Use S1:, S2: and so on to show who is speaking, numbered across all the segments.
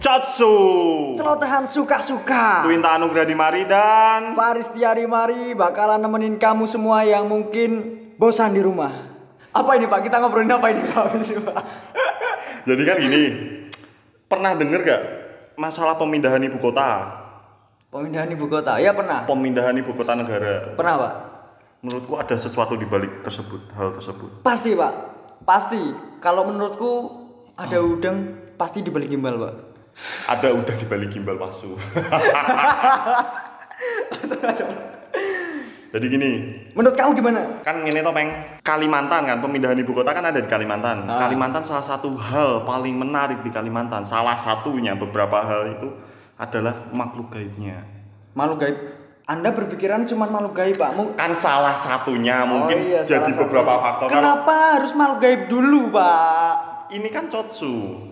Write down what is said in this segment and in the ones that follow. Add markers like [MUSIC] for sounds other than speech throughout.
S1: Satsu
S2: Celotehan suka-suka.
S1: Twinta Anugrah Dimari dan
S2: Faris Tiari Mari bakalan nemenin kamu semua yang mungkin bosan di rumah. Apa ini Pak? Kita ngobrolin apa ini Pak? Pak?
S1: Jadi kan gini Pernah denger gak masalah pemindahan ibu kota?
S2: Pemindahan ibu kota. Ya pernah.
S1: Pemindahan ibu kota negara
S2: Pernah Pak.
S1: Menurutku ada sesuatu di balik tersebut, hal tersebut
S2: Pasti Pak. Pasti. Kalau menurutku ada
S1: Hmm.
S2: udang pasti dibalik gimbal Pak.
S1: Ada udah di balik gimbal [LAUGHS] palsu Jadi gini,
S2: Menurut kamu gimana?
S1: kan ini toh peng Kalimantan kan pemindahan ibu kota kan ada di Kalimantan
S2: Ah.
S1: Kalimantan salah satu hal paling menarik di Kalimantan salah satunya beberapa hal itu adalah makhluk gaibnya
S2: Makhluk gaib. Anda berpikiran cuma makhluk gaib Pak. Mu-
S1: kan salah satunya mungkin
S2: Oh iya,
S1: jadi
S2: salah satu.
S1: beberapa faktor kalau
S2: Kenapa harus makhluk gaib dulu Pak?
S1: ini kan cotsu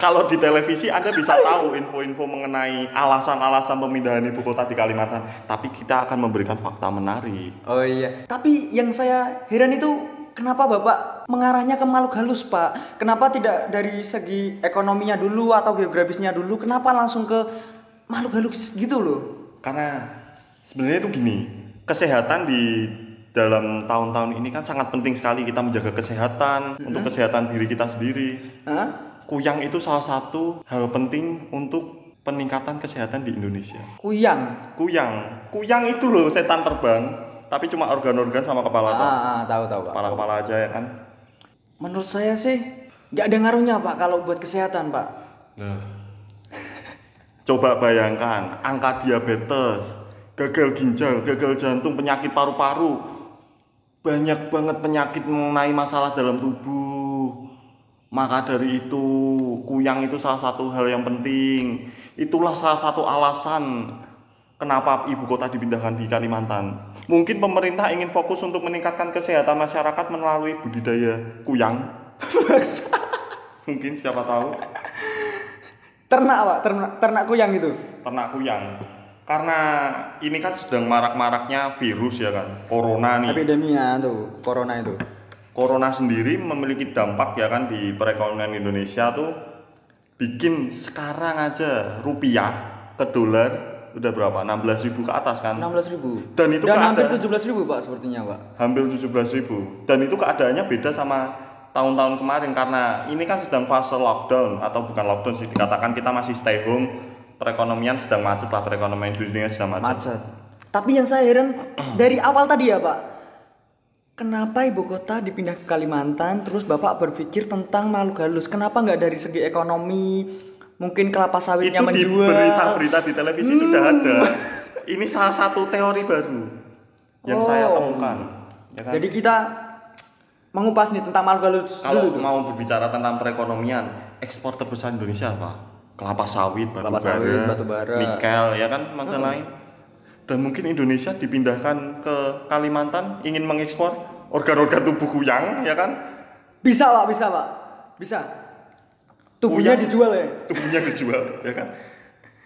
S1: kalau di televisi Anda bisa tahu info-info mengenai alasan-alasan pemindahan ibu kota di Kalimantan tapi kita akan memberikan fakta menarik
S2: Oh iya. Tapi yang saya heran itu kenapa Bapak mengarahnya ke makhluk halus, Pak? Kenapa tidak dari segi ekonominya dulu atau geografisnya dulu? Kenapa langsung ke makhluk halus gitu loh?
S1: karena sebenarnya itu gini kesehatan di dalam tahun-tahun ini kan sangat penting sekali kita menjaga kesehatan untuk kesehatan diri kita sendiri
S2: Hah?
S1: kuyang itu salah satu hal penting untuk peningkatan kesehatan di Indonesia
S2: Kuyang.
S1: kuyang kuyang itu loh setan terbang tapi cuma organ-organ sama kepala
S2: Ah,
S1: doang.
S2: ah, tahu tahu, Pak.
S1: kepala-kepala aja ya kan
S2: Menurut saya sih nggak ada ngaruhnya, Pak, kalau buat kesehatan, Pak.
S1: Nah. coba bayangkan angka diabetes gagal ginjal gagal jantung penyakit paru-paru banyak banget penyakit mengenai masalah dalam tubuh maka dari itu kuyang itu salah satu hal yang penting itulah salah satu alasan kenapa ibu kota dipindahkan di Kalimantan mungkin pemerintah ingin fokus untuk meningkatkan kesehatan masyarakat melalui budidaya kuyang [LAUGHS] mungkin siapa tahu
S2: Ternak, Pak, ternak, ternak kuyang itu.
S1: ternak kuyang karena ini kan sedang marak-maraknya virus ya kan corona nih
S2: Epideminya tuh, corona itu.
S1: corona sendiri memiliki dampak ya kan di perekonomian Indonesia tuh bikin sekarang aja rupiah ke dolar udah berapa 16.000 ke atas kan
S2: 16.000.
S1: Dan itu keadaan-
S2: Dan hampir 17.000, Pak, sepertinya, Pak.
S1: hampir 17.000 dan itu keadaannya beda sama tahun-tahun kemarin karena ini kan sedang fase lockdown atau bukan lockdown sih dikatakan kita masih stay home perekonomian sedang macet lah perekonomian dunia sedang macet
S2: macet. Tapi yang saya heran dari awal tadi ya Pak, kenapa ibu kota dipindah ke Kalimantan? Terus Bapak berpikir tentang makhluk halus, kenapa nggak dari segi ekonomi? Mungkin kelapa
S1: itu
S2: sawitnya
S1: di
S2: menjual.
S1: berita-berita di televisi sudah
S2: Hmm.
S1: ada. Ini salah satu teori baru yang
S2: Oh.
S1: saya temukan. Ya kan?
S2: Jadi kita mengupas nih tentang makhluk halus dulu
S1: kalau
S2: tuh.
S1: mau berbicara tentang perekonomian, ekspor terbesar Indonesia apa? Kelapa sawit, batu
S2: Kelapa
S1: bara,
S2: sawit, batu bara. Hmm.
S1: nikel, ya kan, macam lain. Dan mungkin Indonesia dipindahkan ke Kalimantan ingin mengekspor organ-organ tubuh kuyang, ya kan?
S2: Bisa Pak, bisa Pak, bisa. Tubuhnya
S1: Kuyang.
S2: dijual ya.
S1: Tubuhnya dijual, ya kan?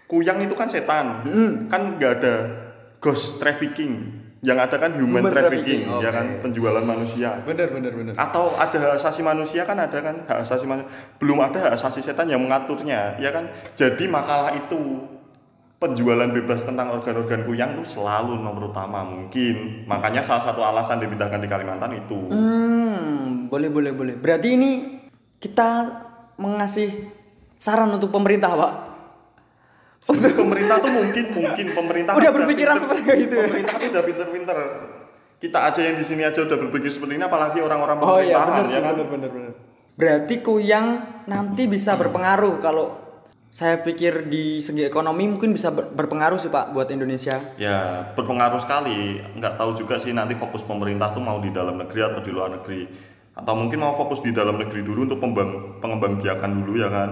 S1: Kuyang itu kan setan,
S2: Mm.
S1: kan nggak ada ghost trafficking, yang ada kan human,
S2: Human
S1: trafficking,
S2: trafficking,
S1: ya
S2: oke.
S1: kan, penjualan manusia.
S2: Bener bener bener.
S1: atau ada hak asasi manusia kan ada kan hak asasi manusia belum ada hak asasi setan yang mengaturnya ya kan jadi makalah itu penjualan bebas tentang organ-organ kuyang itu selalu nomor utama mungkin makanya salah satu alasan dipindahkan di Kalimantan itu
S2: Hmm, boleh boleh boleh. Berarti ini kita mengasih saran untuk pemerintah Pak.
S1: Sebenarnya pemerintah tuh mungkin mungkin pemerintah
S2: Udah berpikiran seperti itu ya?
S1: pemerintah tuh udah pinter-pinter kita aja yang di sini aja udah berpikir seperti ini apalagi orang-orang
S2: Oh iya
S1: pemerintahan
S2: benar sih
S1: ya kan
S2: benar benar benar. Berarti kuyang nanti bisa berpengaruh kalau saya pikir di segi ekonomi mungkin bisa ber- berpengaruh sih Pak buat Indonesia.
S1: Ya berpengaruh sekali. Nggak tahu juga sih nanti fokus pemerintah tuh mau di dalam negeri atau di luar negeri. Atau mungkin mau fokus di dalam negeri dulu untuk pembang, pengembangbiakan dulu ya kan.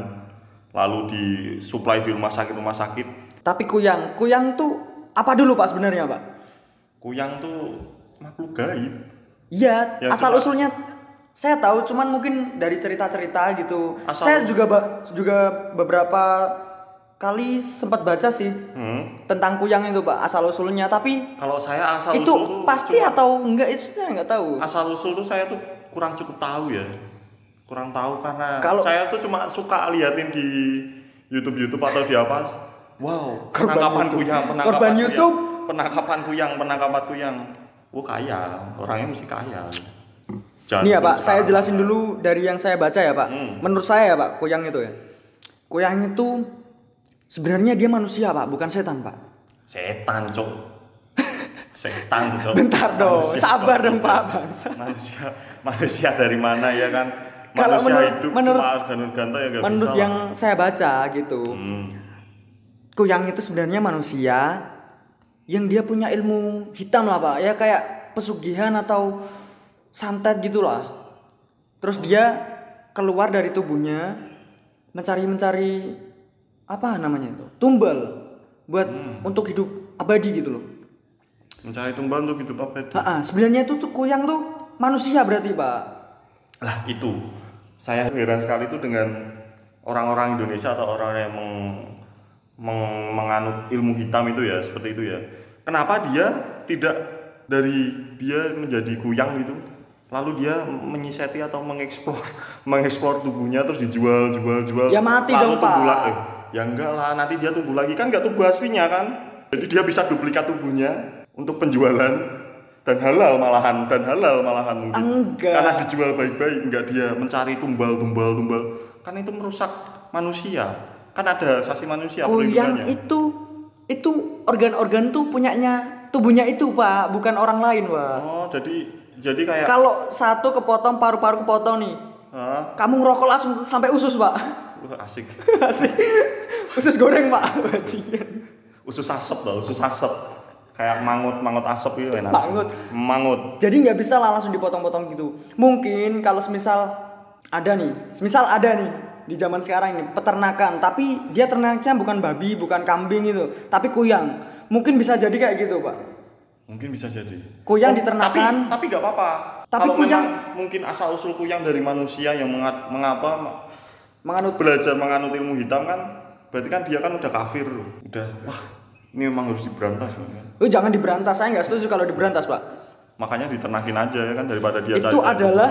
S1: Lalu di supply di rumah sakit rumah sakit.
S2: Tapi kuyang, kuyang tuh apa dulu Pak sebenarnya Pak?
S1: Kuyang tuh makhluk gaib.
S2: Iya,
S1: Ya,
S2: asal
S1: cuma-
S2: usulnya saya tahu cuman mungkin dari cerita-cerita gitu.
S1: Asal-
S2: Saya juga ba- juga beberapa kali sempat baca sih
S1: Hmm.
S2: tentang kuyang itu Pak asal usulnya tapi
S1: Kalau saya asal
S2: itu
S1: usul tuh
S2: pasti atau enggak itu saya nggak tahu.
S1: asal usul tuh saya tuh kurang cukup tahu ya kurang tahu karena
S2: Kalau-
S1: saya tuh cuma suka liatin di YouTube YouTube atau di apa? Wow,
S2: Korban
S1: penangkapan
S2: YouTube.
S1: kuyang, penangkapan
S2: Korban
S1: kuyang.
S2: YouTube.
S1: penangkapan kuyang, penangkapan kuyang. Wah kaya, orangnya mesti kaya. Jangan
S2: Nih ya Pak, saya jelasin dulu dari yang saya baca ya Pak.
S1: Hmm.
S2: Menurut saya ya Pak, koyang itu ya. Koyang itu sebenarnya dia manusia Pak, bukan setan Pak.
S1: Ya, Setan cok. Setan cok.
S2: [LAUGHS] Bentar dong, sabar dong, Pak. Bangsa.
S1: Manusia, manusia dari mana ya kan?
S2: Kalau
S1: manusia
S2: menurut-
S1: hidup
S2: menurut-
S1: cuma organ-organ ya gak
S2: Menurut
S1: bisa
S2: yang
S1: lah.
S2: saya baca gitu,
S1: Hmm.
S2: koyang itu sebenarnya manusia yang dia punya ilmu hitam lah Pak. Ya kayak pesugihan atau santet gitulah. Terus
S1: Hmm.
S2: dia keluar dari tubuhnya mencari-mencari apa namanya itu? Tumbal buat
S1: Hmm.
S2: untuk hidup abadi gitu loh.
S1: mencari tumbal untuk hidup apa itu?
S2: Ah, ah, sebenarnya itu tuh kuyang tuh manusia berarti pak.
S1: lah itu saya heran sekali itu dengan orang-orang Indonesia atau orang yang meng, meng- menganut ilmu hitam itu ya seperti itu ya kenapa dia tidak dari dia menjadi kuyang gitu lalu dia menyiseti atau mengeksplor [LAUGHS] mengeksplor tubuhnya terus dijual jual jual
S2: Ya mati
S1: lalu
S2: dong,
S1: tumbuh
S2: Pak.
S1: la- eh, ya enggak lah nanti dia tumbuh lagi kan nggak tumbuh aslinya kan jadi dia bisa duplikat tubuhnya untuk penjualan dan halal malahan dan halal malahan mungkin
S2: Enggak.
S1: karena dijual baik-baik enggak dia mencari tumbal tumbal tumbal kan itu merusak manusia kan ada saksi manusia perlindungannya.
S2: Kuyang itu itu organ-organ tuh punyanya tubuhnya itu pak, bukan orang lain pak.
S1: oh jadi jadi kayak
S2: Kalau satu kepotong paru-paru kepotong nih,
S1: Hah?
S2: kamu ngerokok langsung sampai usus pak.
S1: ah,
S2: [LAUGHS]
S1: Wah, asik
S2: usus goreng pak. [LAUGHS] Bajingan.
S1: usus asap loh usus asap kayak mangut mangut asap itu enak
S2: Mangut.
S1: mangut
S2: Jadi nggak bisa lah langsung dipotong-potong gitu. Mungkin kalau semisal ada nih, semisal ada nih di zaman sekarang ini peternakan, tapi dia ternaknya bukan babi, bukan kambing gitu, tapi kuyang. Mungkin bisa jadi kayak gitu, Pak.
S1: mungkin bisa jadi
S2: Kuyang
S1: Oh,
S2: diternakan.
S1: tapi tapi nggak apa-apa
S2: Tapi
S1: Kalau
S2: kuyang-
S1: memang mungkin asal usul kuyang dari manusia yang mengat, mengapa
S2: Menganut
S1: belajar menganut ilmu hitam kan berarti kan dia kan udah kafir udah wah ini memang harus diberantas kan.
S2: lu Eh, jangan diberantas, saya nggak setuju kalau diberantas, Pak.
S1: makanya diternakin aja ya kan daripada dia
S2: Itu
S1: saja.
S2: adalah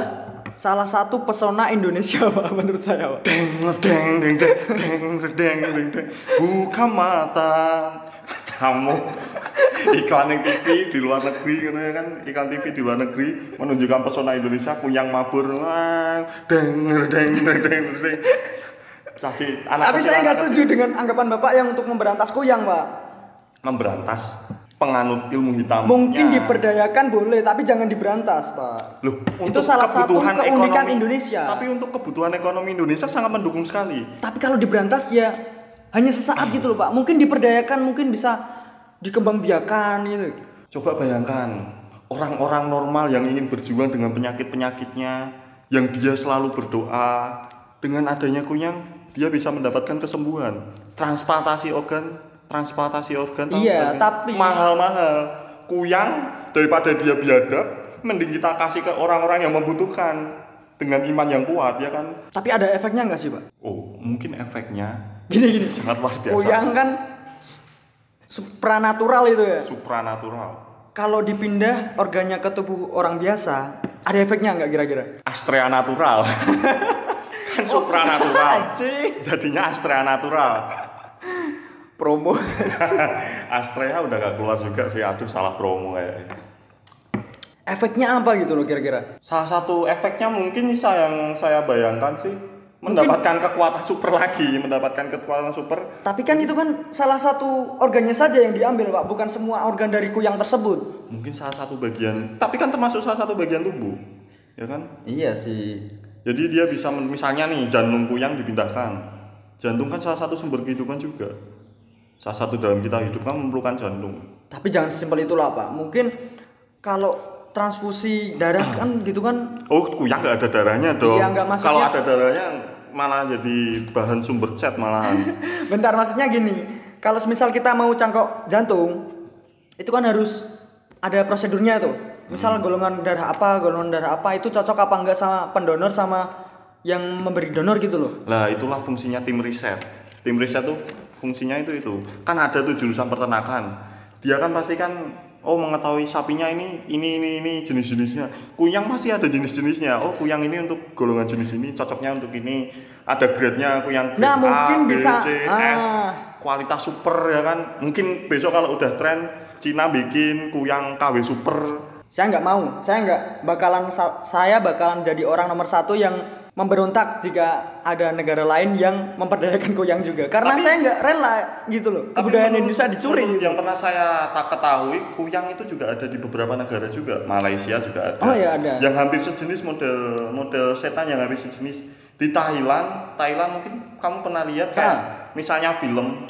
S2: salah satu pesona Indonesia, [LAUGHS] Pak, menurut saya, Pak.
S1: deng deng deng deng deng deng deng deng buka mata kamu iklan yang TV di luar negeri gitu ya kan iklan TV di luar negeri menunjukkan pesona Indonesia kunyang mabur Wah, deng deng deng deng deng Caci, anak
S2: Tapi
S1: kecil-
S2: saya nggak
S1: anak
S2: setuju dengan anggapan Bapak yang untuk memberantas kuyang, Pak.
S1: kecil memberantas penganut ilmu hitam Ya.
S2: Mungkin diperdayakan boleh, tapi jangan diberantas, Pak.
S1: Loh,
S2: itu salah satu keunikan Indonesia.
S1: Tapi untuk kebutuhan ekonomi Indonesia sangat mendukung sekali.
S2: Tapi kalau diberantas ya hanya sesaat gitu loh Pak. Mungkin diperdayakan, mungkin bisa dikembangbiakan gitu.
S1: Coba bayangkan orang-orang normal yang ingin berjuang dengan penyakit-penyakitnya, yang dia selalu berdoa, dengan adanya kunyang dia bisa mendapatkan kesembuhan. Transplantasi organ, transplantasi organ tahu
S2: Iya,
S1: kan?
S2: tapi-
S1: mahal-mahal. Kuyang daripada dia biadab, mending kita kasih ke orang-orang yang membutuhkan dengan iman yang kuat ya kan.
S2: Tapi ada efeknya nggak sih Pak?
S1: Oh, mungkin efeknya
S2: Gini gini.
S1: sangat luar biasa.
S2: Koyang kan supranatural itu ya.
S1: supranatural.
S2: Kalau dipindah organnya ke tubuh orang biasa, ada efeknya nggak kira-kira?
S1: Astrea natural. [LAUGHS] kan
S2: Oh,
S1: supranatural.
S2: [LAUGHS] Anjing.
S1: Jadinya Astrea natural. [LAUGHS]
S2: Promo.
S1: Astrea udah gak keluar juga sih, aduh salah promo kayaknya.
S2: efeknya apa gitu loh kira-kira?
S1: Salah satu efeknya mungkin saya yang saya bayangkan sih mendapatkan kekuatan super lagi, mendapatkan kekuatan super.
S2: Tapi kan itu kan salah satu organnya saja yang diambil Pak, bukan semua organ dari kuyang tersebut.
S1: Mungkin salah satu bagian, tapi kan termasuk salah satu bagian tubuh, ya kan?
S2: Iya sih.
S1: Jadi dia bisa men- misalnya nih jantung kuyang dipindahkan. Jantung kan salah satu sumber kehidupan juga. Salah satu dalam kita hidup kan memerlukan jantung.
S2: Tapi jangan sesimpel itulah Pak. Mungkin kalau transfusi darah kan
S1: [CLEARS THROAT]
S2: gitu kan
S1: Oh, kuyang nggak ada darahnya dong.
S2: Iya, nggak, maksudnya-
S1: Kalau ada darahnya malah jadi bahan sumber cat malahan.
S2: bentar maksudnya gini. Kalau misal kita mau cangkok jantung itu kan harus ada prosedurnya itu.
S1: Hmm.
S2: Misal golongan darah apa, golongan darah apa itu cocok apa enggak sama pendonor sama yang memberi donor gitu loh.
S1: lah itulah fungsinya tim riset. Tim riset tuh fungsinya itu itu. Kan ada tuh jurusan peternakan. Dia kan pasti kan oh mengetahui sapinya ini ini ini ini jenis-jenisnya kuyang pasti ada jenis-jenisnya oh kuyang ini untuk golongan jenis ini cocoknya untuk ini ada grade-nya kuyang grade
S2: Nah,
S1: A, B,
S2: mungkin bisa-
S1: C, S
S2: ah.
S1: kualitas super ya kan mungkin besok kalau udah tren Cina bikin kuyang KW super
S2: Saya nggak mau, saya nggak bakalan sa- saya bakalan jadi orang nomor satu yang memberontak jika ada negara lain yang memperdayakan goyang juga. Karena saya nggak rela gitu loh.
S1: Tapi
S2: Kebudayaan
S1: menurut-
S2: Indonesia dicuri.
S1: menurut Yang pernah saya tak ketahui, kuyang itu juga ada di beberapa negara juga. Malaysia juga ada.
S2: Oh, iya, ada.
S1: Yang hampir sejenis model model setan yang hampir sejenis di Thailand. Thailand mungkin kamu pernah lihat kan?
S2: Ah.
S1: Misalnya film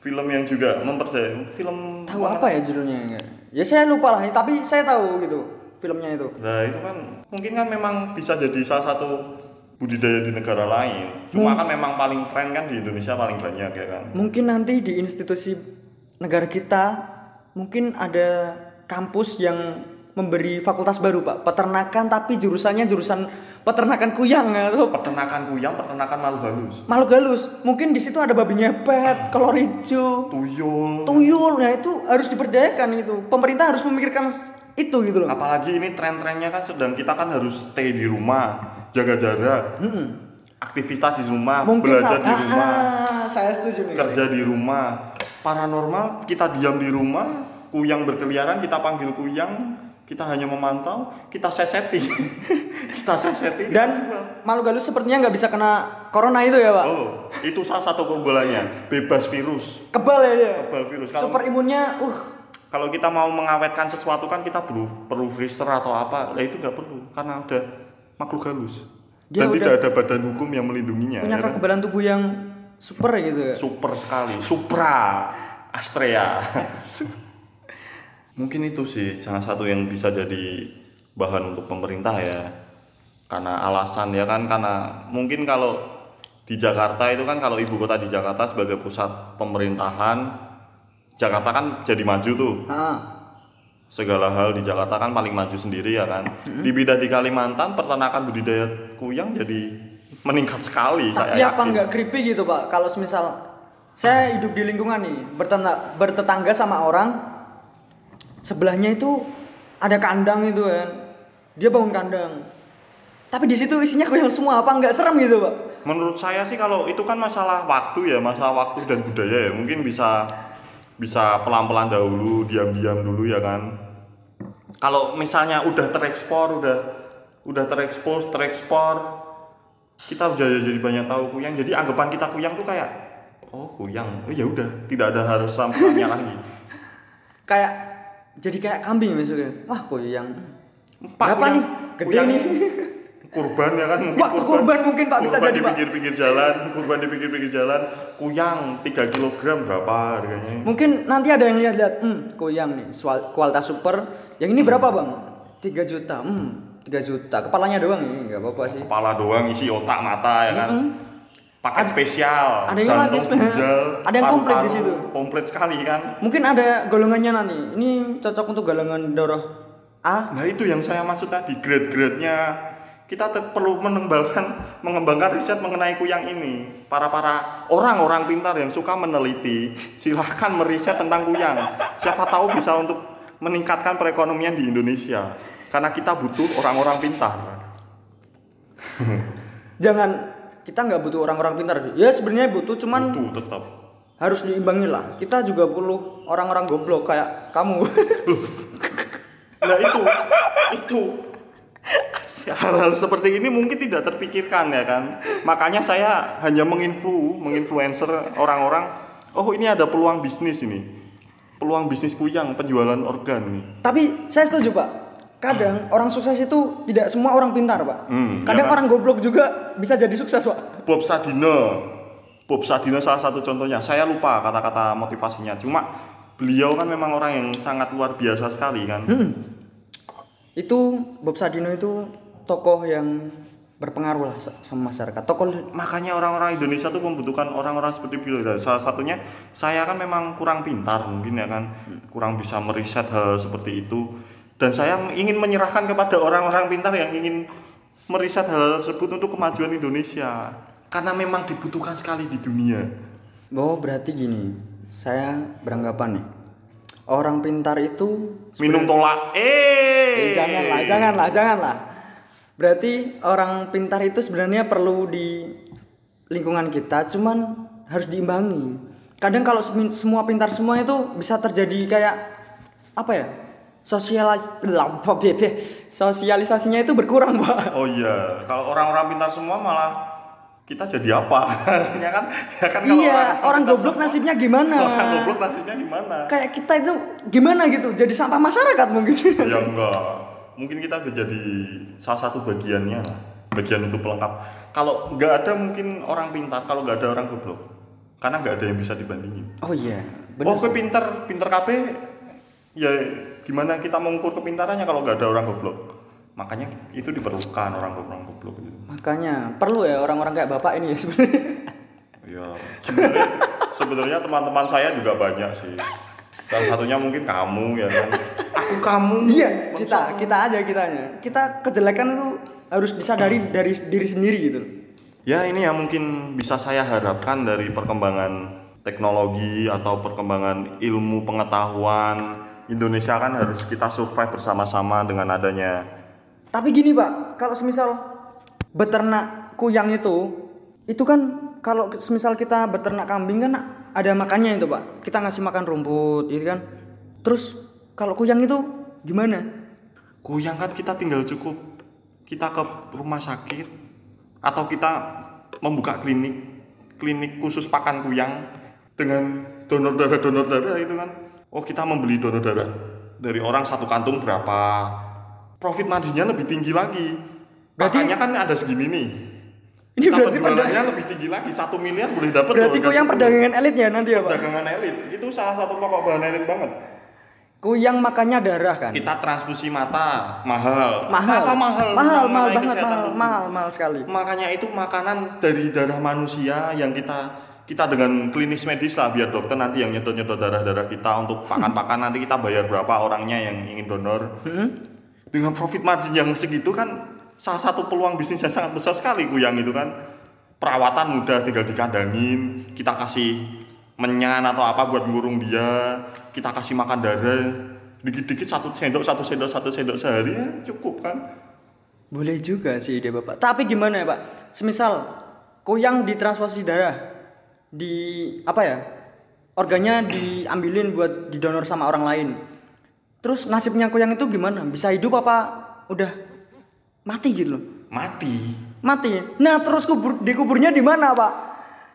S1: film yang juga memperdaya film
S2: Tahu apa ya judulnya? ya? Ya saya lupa lah, tapi saya tahu gitu filmnya itu.
S1: Nah, itu kan mungkin kan memang bisa jadi salah satu budidaya di negara lain. Cuma
S2: Hmm.
S1: kan memang paling tren kan di Indonesia paling banyak ya kan.
S2: Mungkin nanti di institusi negara kita mungkin ada kampus yang memberi fakultas baru pak peternakan tapi jurusannya jurusan peternakan kuyang atau
S1: Peternakan kuyang, peternakan malu halus.
S2: makhluk halus mungkin di situ ada babi ngepet kolor hijau
S1: Tuyul.
S2: tuyul nah itu harus diperdayakan itu pemerintah harus memikirkan s- itu gitu loh
S1: Apalagi ini tren-trennya kan sedang kita kan harus stay di rumah, jaga jarak, aktivitas di rumah,
S2: Hmm. mungkin
S1: belajar
S2: sa-
S1: di
S2: Ah,
S1: rumah,
S2: ah, saya setuju nih
S1: kerja di rumah. Paranormal kita diam di rumah, kuyang berkeliaran kita panggil kuyang, kita hanya memantau, kita seseti, [LAUGHS] kita seseti.
S2: dan makhluk halus sepertinya nggak bisa kena corona itu ya pak
S1: oh itu salah satu keunggulannya, bebas virus,
S2: kebal ya dia
S1: bebas virus. Kalau
S2: super imunnya uh
S1: kalau kita mau mengawetkan sesuatu kan kita perlu perlu freezer atau apa ya itu nggak perlu karena udah makhluk halus
S2: Dia
S1: dan
S2: udah-
S1: tidak ada badan hukum yang melindunginya
S2: punya
S1: ya kan?
S2: kekebalan tubuh yang super gitu ya
S1: super sekali supra
S2: [LAUGHS]
S1: astrea mungkin itu sih salah satu yang bisa jadi bahan untuk pemerintah ya karena alasan ya kan karena mungkin kalau di Jakarta itu kan kalau ibu kota di Jakarta sebagai pusat pemerintahan Jakarta kan jadi maju tuh
S2: ah
S1: segala hal di Jakarta kan paling maju sendiri ya kan. Di bidang di Kalimantan peternakan budidaya kuyang jadi meningkat sekali saya
S2: tapi apa
S1: yakin.
S2: nggak creepy gitu pak kalau semisal saya hidup di lingkungan nih bertena- bertetangga sama orang sebelahnya itu ada kandang itu kan dia bangun kandang tapi di situ isinya kuyang semua apa nggak serem gitu pak
S1: Menurut saya sih kalau itu kan masalah waktu ya, masalah waktu dan budaya ya. Mungkin bisa bisa pelan-pelan dahulu, diam-diam dulu ya kan. Kalau misalnya udah terekspor, udah udah terekspos, terekspor kita udah jadi banyak tahu kuyang. Jadi anggapan kita kuyang tuh kayak oh kuyang, oh ya udah tidak ada harus sampannya lagi.
S2: kayak jadi kayak kambing maksudnya wah kuyang
S1: Pak,
S2: Berapa
S1: kuyang-
S2: nih? Gede
S1: kuyang
S2: nih.
S1: Kurban ya kan mungkin
S2: Waktu kurban mungkin, Pak, bisa
S1: kurban
S2: jadi,
S1: di
S2: Pak.
S1: pinggir-pinggir jalan, kurban di pinggir-pinggir jalan, kuyang 3 kg berapa harganya?
S2: mungkin nanti ada yang lihat-lihat hmm kuyang nih sual- kualitas super yang ini berapa bang 3 juta hmm 3 juta kepalanya doang ini nggak apa-apa sih
S1: Kepala doang isi otak mata ya kan. Paket spesial,
S2: ada yang
S1: jantung,
S2: lagi spe-
S1: ginjal,
S2: ada yang komplit di
S1: paru-paru.
S2: situ.
S1: Komplit sekali kan.
S2: mungkin ada golongannya nanti ini cocok untuk golongan darah A
S1: Nah, itu yang saya maksud tadi, grade-grade-nya kita tetap perlu mengembangkan mengembangkan riset mengenai kuyang ini. Para para orang-orang pintar yang suka meneliti, silahkan meriset tentang kuyang. Siapa tahu bisa untuk meningkatkan perekonomian di Indonesia. Karena kita butuh orang-orang pintar.
S2: jangan kita nggak butuh orang-orang pintar ya sebenarnya butuh cuman
S1: Butuh tetap.
S2: harus diimbangi lah kita juga perlu orang-orang goblok kayak kamu [LAUGHS]
S1: Nah itu, itu hal-hal seperti ini mungkin tidak terpikirkan ya kan. Makanya saya hanya menginflu, menginfluencer orang-orang. Oh ini ada peluang bisnis ini, peluang bisnis kuyang penjualan organ nih.
S2: tapi saya setuju pak kadang orang sukses itu tidak semua orang pintar pak
S1: Hmm,
S2: kadang
S1: ya kan?
S2: orang goblok juga bisa jadi sukses pak
S1: Bob Sadino, Bob Sadino salah satu contohnya. Saya lupa kata-kata motivasinya. Cuma beliau kan memang orang yang sangat luar biasa sekali kan.
S2: itu Bob Sadino itu tokoh yang berpengaruh lah sa- sama masyarakat tokoh
S1: makanya orang-orang Indonesia tuh membutuhkan orang-orang seperti beliau dan salah satunya saya kan memang kurang pintar mungkin ya kan
S2: Hmm.
S1: kurang bisa meriset hal seperti itu dan saya ingin menyerahkan kepada orang-orang pintar yang ingin meriset hal tersebut untuk kemajuan Indonesia karena memang dibutuhkan sekali di dunia
S2: oh berarti gini saya beranggapan nih Orang pintar itu
S1: Minum tolak. Eh,
S2: Eh, janganlah, janganlah, janganlah. Berarti orang pintar itu sebenarnya perlu di lingkungan kita, cuman harus diimbangi. Kadang kalau semi- semua pintar semua itu bisa terjadi kayak apa ya? Sosialis lampa bebe. [LAUGHS] Sosialisasinya itu berkurang, Pak.
S1: Oh iya, kalau orang-orang pintar semua malah kita jadi apa? [LAUGHS] Harusnya kan ya kan kalau
S2: iya, orang,
S1: pintar
S2: goblok
S1: semua-
S2: nasibnya gimana?
S1: [LAUGHS] Orang goblok nasibnya gimana?
S2: Kayak kita itu gimana gitu? Jadi sampah masyarakat mungkin.
S1: ya enggak mungkin kita udah jadi salah satu bagiannya lah bagian untuk pelengkap kalau nggak ada mungkin orang pintar kalau nggak ada orang goblok karena nggak ada yang bisa dibandingin
S2: oh iya,
S1: oh
S2: benar.
S1: gue pintar pintar KB ya gimana kita mengukur kepintarannya kalau nggak ada orang goblok makanya itu diperlukan orang orang goblok gitu.
S2: Makanya perlu ya orang-orang kayak Bapak ini ya sebenarnya.
S1: ya sebenarnya [LAUGHS] sebenarnya teman-teman saya juga banyak sih salah satunya mungkin kamu ya kan aku kamu
S2: [LAUGHS] Iya,
S1: Bangsa.
S2: kita kita aja kitanya. Kita kejelekan itu harus disadari dari diri sendiri gitu. loh.
S1: Ya ini yang mungkin bisa saya harapkan dari perkembangan teknologi atau perkembangan ilmu pengetahuan Indonesia kan harus kita survive bersama-sama dengan adanya
S2: Tapi gini, Pak, kalau semisal beternak kuyang itu itu kan kalau semisal kita beternak kambing kan ada makannya itu, Pak. Kita ngasih makan rumput gitu kan. Terus kalau kuyang itu gimana?
S1: goyang kan kita tinggal cukup kita ke rumah sakit atau kita membuka klinik klinik khusus pakan kuyang dengan donor darah donor darah itu kan oh kita membeli donor darah dari orang satu kantung berapa profit marginnya lebih tinggi lagi
S2: Berarti-
S1: pakannya kan ada segini
S2: [LAUGHS]
S1: nih
S2: Ini
S1: kita
S2: berarti perda-
S1: penjualannya lebih tinggi lagi satu miliar boleh dapat
S2: berarti kuyang perdagangan elit ya nanti ya, Pak.
S1: perdagangan elit itu salah satu pokok bahan elit banget
S2: Kuyang makannya darah kan.
S1: kita transfusi mata mahal
S2: Mahal.
S1: Kenapa mahal
S2: mahal,
S1: Mengenai
S2: mahal banget,
S1: kesehatan
S2: mahal,
S1: tubuh.
S2: mahal, mahal sekali.
S1: makanya itu makanan dari darah manusia yang kita kita dengan klinis medis lah biar dokter nanti yang nyedot nyedot darah darah kita untuk pakan pakan nanti kita bayar berapa orangnya yang ingin donor dengan profit margin yang segitu kan salah satu peluang bisnis yang sangat besar sekali kuyang itu kan perawatan mudah tinggal dikandangin kita kasih menyan atau apa buat ngurung dia kita kasih makan darah dikit-dikit satu sendok satu sendok satu sendok sehari ya cukup kan
S2: Boleh juga sih ide Bapak. Tapi gimana ya, Pak? Semisal koyang ditransfusi darah di apa ya? Organnya diambilin buat didonor sama orang lain. Terus nasibnya koyang itu gimana? Bisa hidup apa udah mati gitu loh.
S1: mati
S2: Mati. Nah, terus kubur dikuburnya di mana, Pak?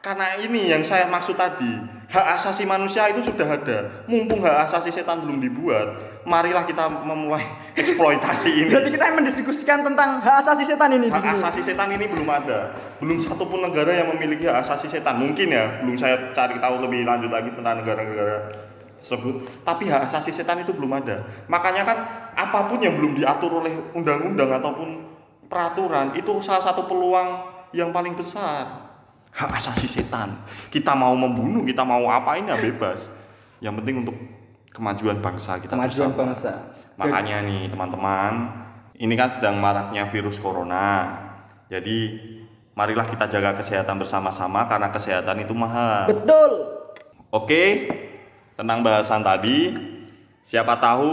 S1: Karena ini yang saya maksud tadi, hak asasi manusia itu sudah ada. Mumpung hak asasi setan belum dibuat, marilah kita memulai [LAUGHS] eksploitasi ini.
S2: Berarti kita mendiskusikan tentang hak asasi setan ini di
S1: Hak
S2: sini.
S1: asasi setan ini belum ada. Belum satupun negara yang memiliki hak asasi setan. Mungkin ya, belum saya cari tahu lebih lanjut lagi tentang negara-negara tersebut. Tapi hak asasi setan itu belum ada. Makanya kan apapun yang belum diatur oleh undang-undang ataupun peraturan itu salah satu peluang yang paling besar. Hak asasi setan. Kita mau membunuh, kita mau apain ya bebas. Yang penting untuk kemajuan bangsa kita
S2: Kemajuan
S1: bersama.
S2: bangsa.
S1: Makanya nih teman-teman, ini kan sedang maraknya virus corona. Jadi marilah kita jaga kesehatan bersama-sama karena kesehatan itu mahal.
S2: Betul.
S1: Oke, tentang bahasan tadi, siapa tahu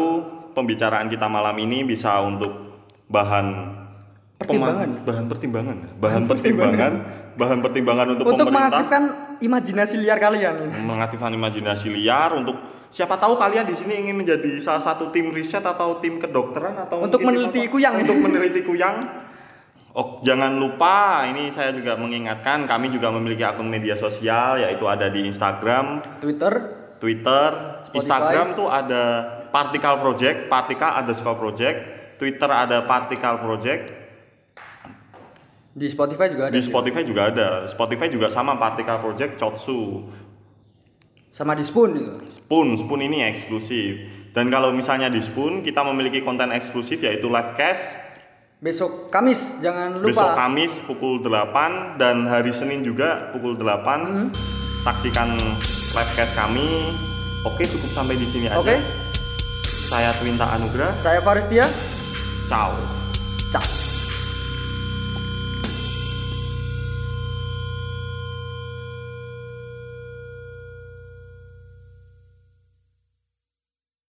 S1: pembicaraan kita malam ini bisa untuk bahan
S2: Pertimbangan.
S1: pema- bahan pertimbangan, bahan pertimbangan, bahan pertimbangan untuk,
S2: Untuk
S1: pemerintah
S2: mengaktifkan imajinasi liar kalian ini.
S1: mengaktifkan imajinasi liar untuk siapa tahu kalian di sini ingin menjadi salah satu tim riset atau tim kedokteran atau
S2: Untuk
S1: mungkin
S2: meneliti
S1: apa-
S2: kuyang.
S1: untuk meneliti kuyang Oh, jangan lupa ini saya juga mengingatkan kami juga memiliki akun media sosial yaitu ada di Instagram,
S2: Twitter
S1: Twitter,
S2: Spotify.
S1: Instagram tuh ada Partikel Project, Partikel underscore Project, Twitter ada Partikel Project,
S2: Di Spotify juga ada. ya.
S1: di Spotify juga ada, Spotify juga sama Partikel Project Chotsu.
S2: Sama di Spoon gitu.
S1: Spoon, Spoon ini eksklusif. Dan kalau misalnya di Spoon, kita memiliki konten eksklusif yaitu livecast
S2: Besok Kamis jangan lupa.
S1: besok Kamis pukul 8 dan hari Senin juga pukul 8.
S2: Hmm.
S1: Saksikan livecast kami. Oke, cukup sampai di sini aja.
S2: Oke.
S1: Saya Twinta Anugrah.
S2: Saya Faris Tia.
S1: Ciao.
S2: Ciao.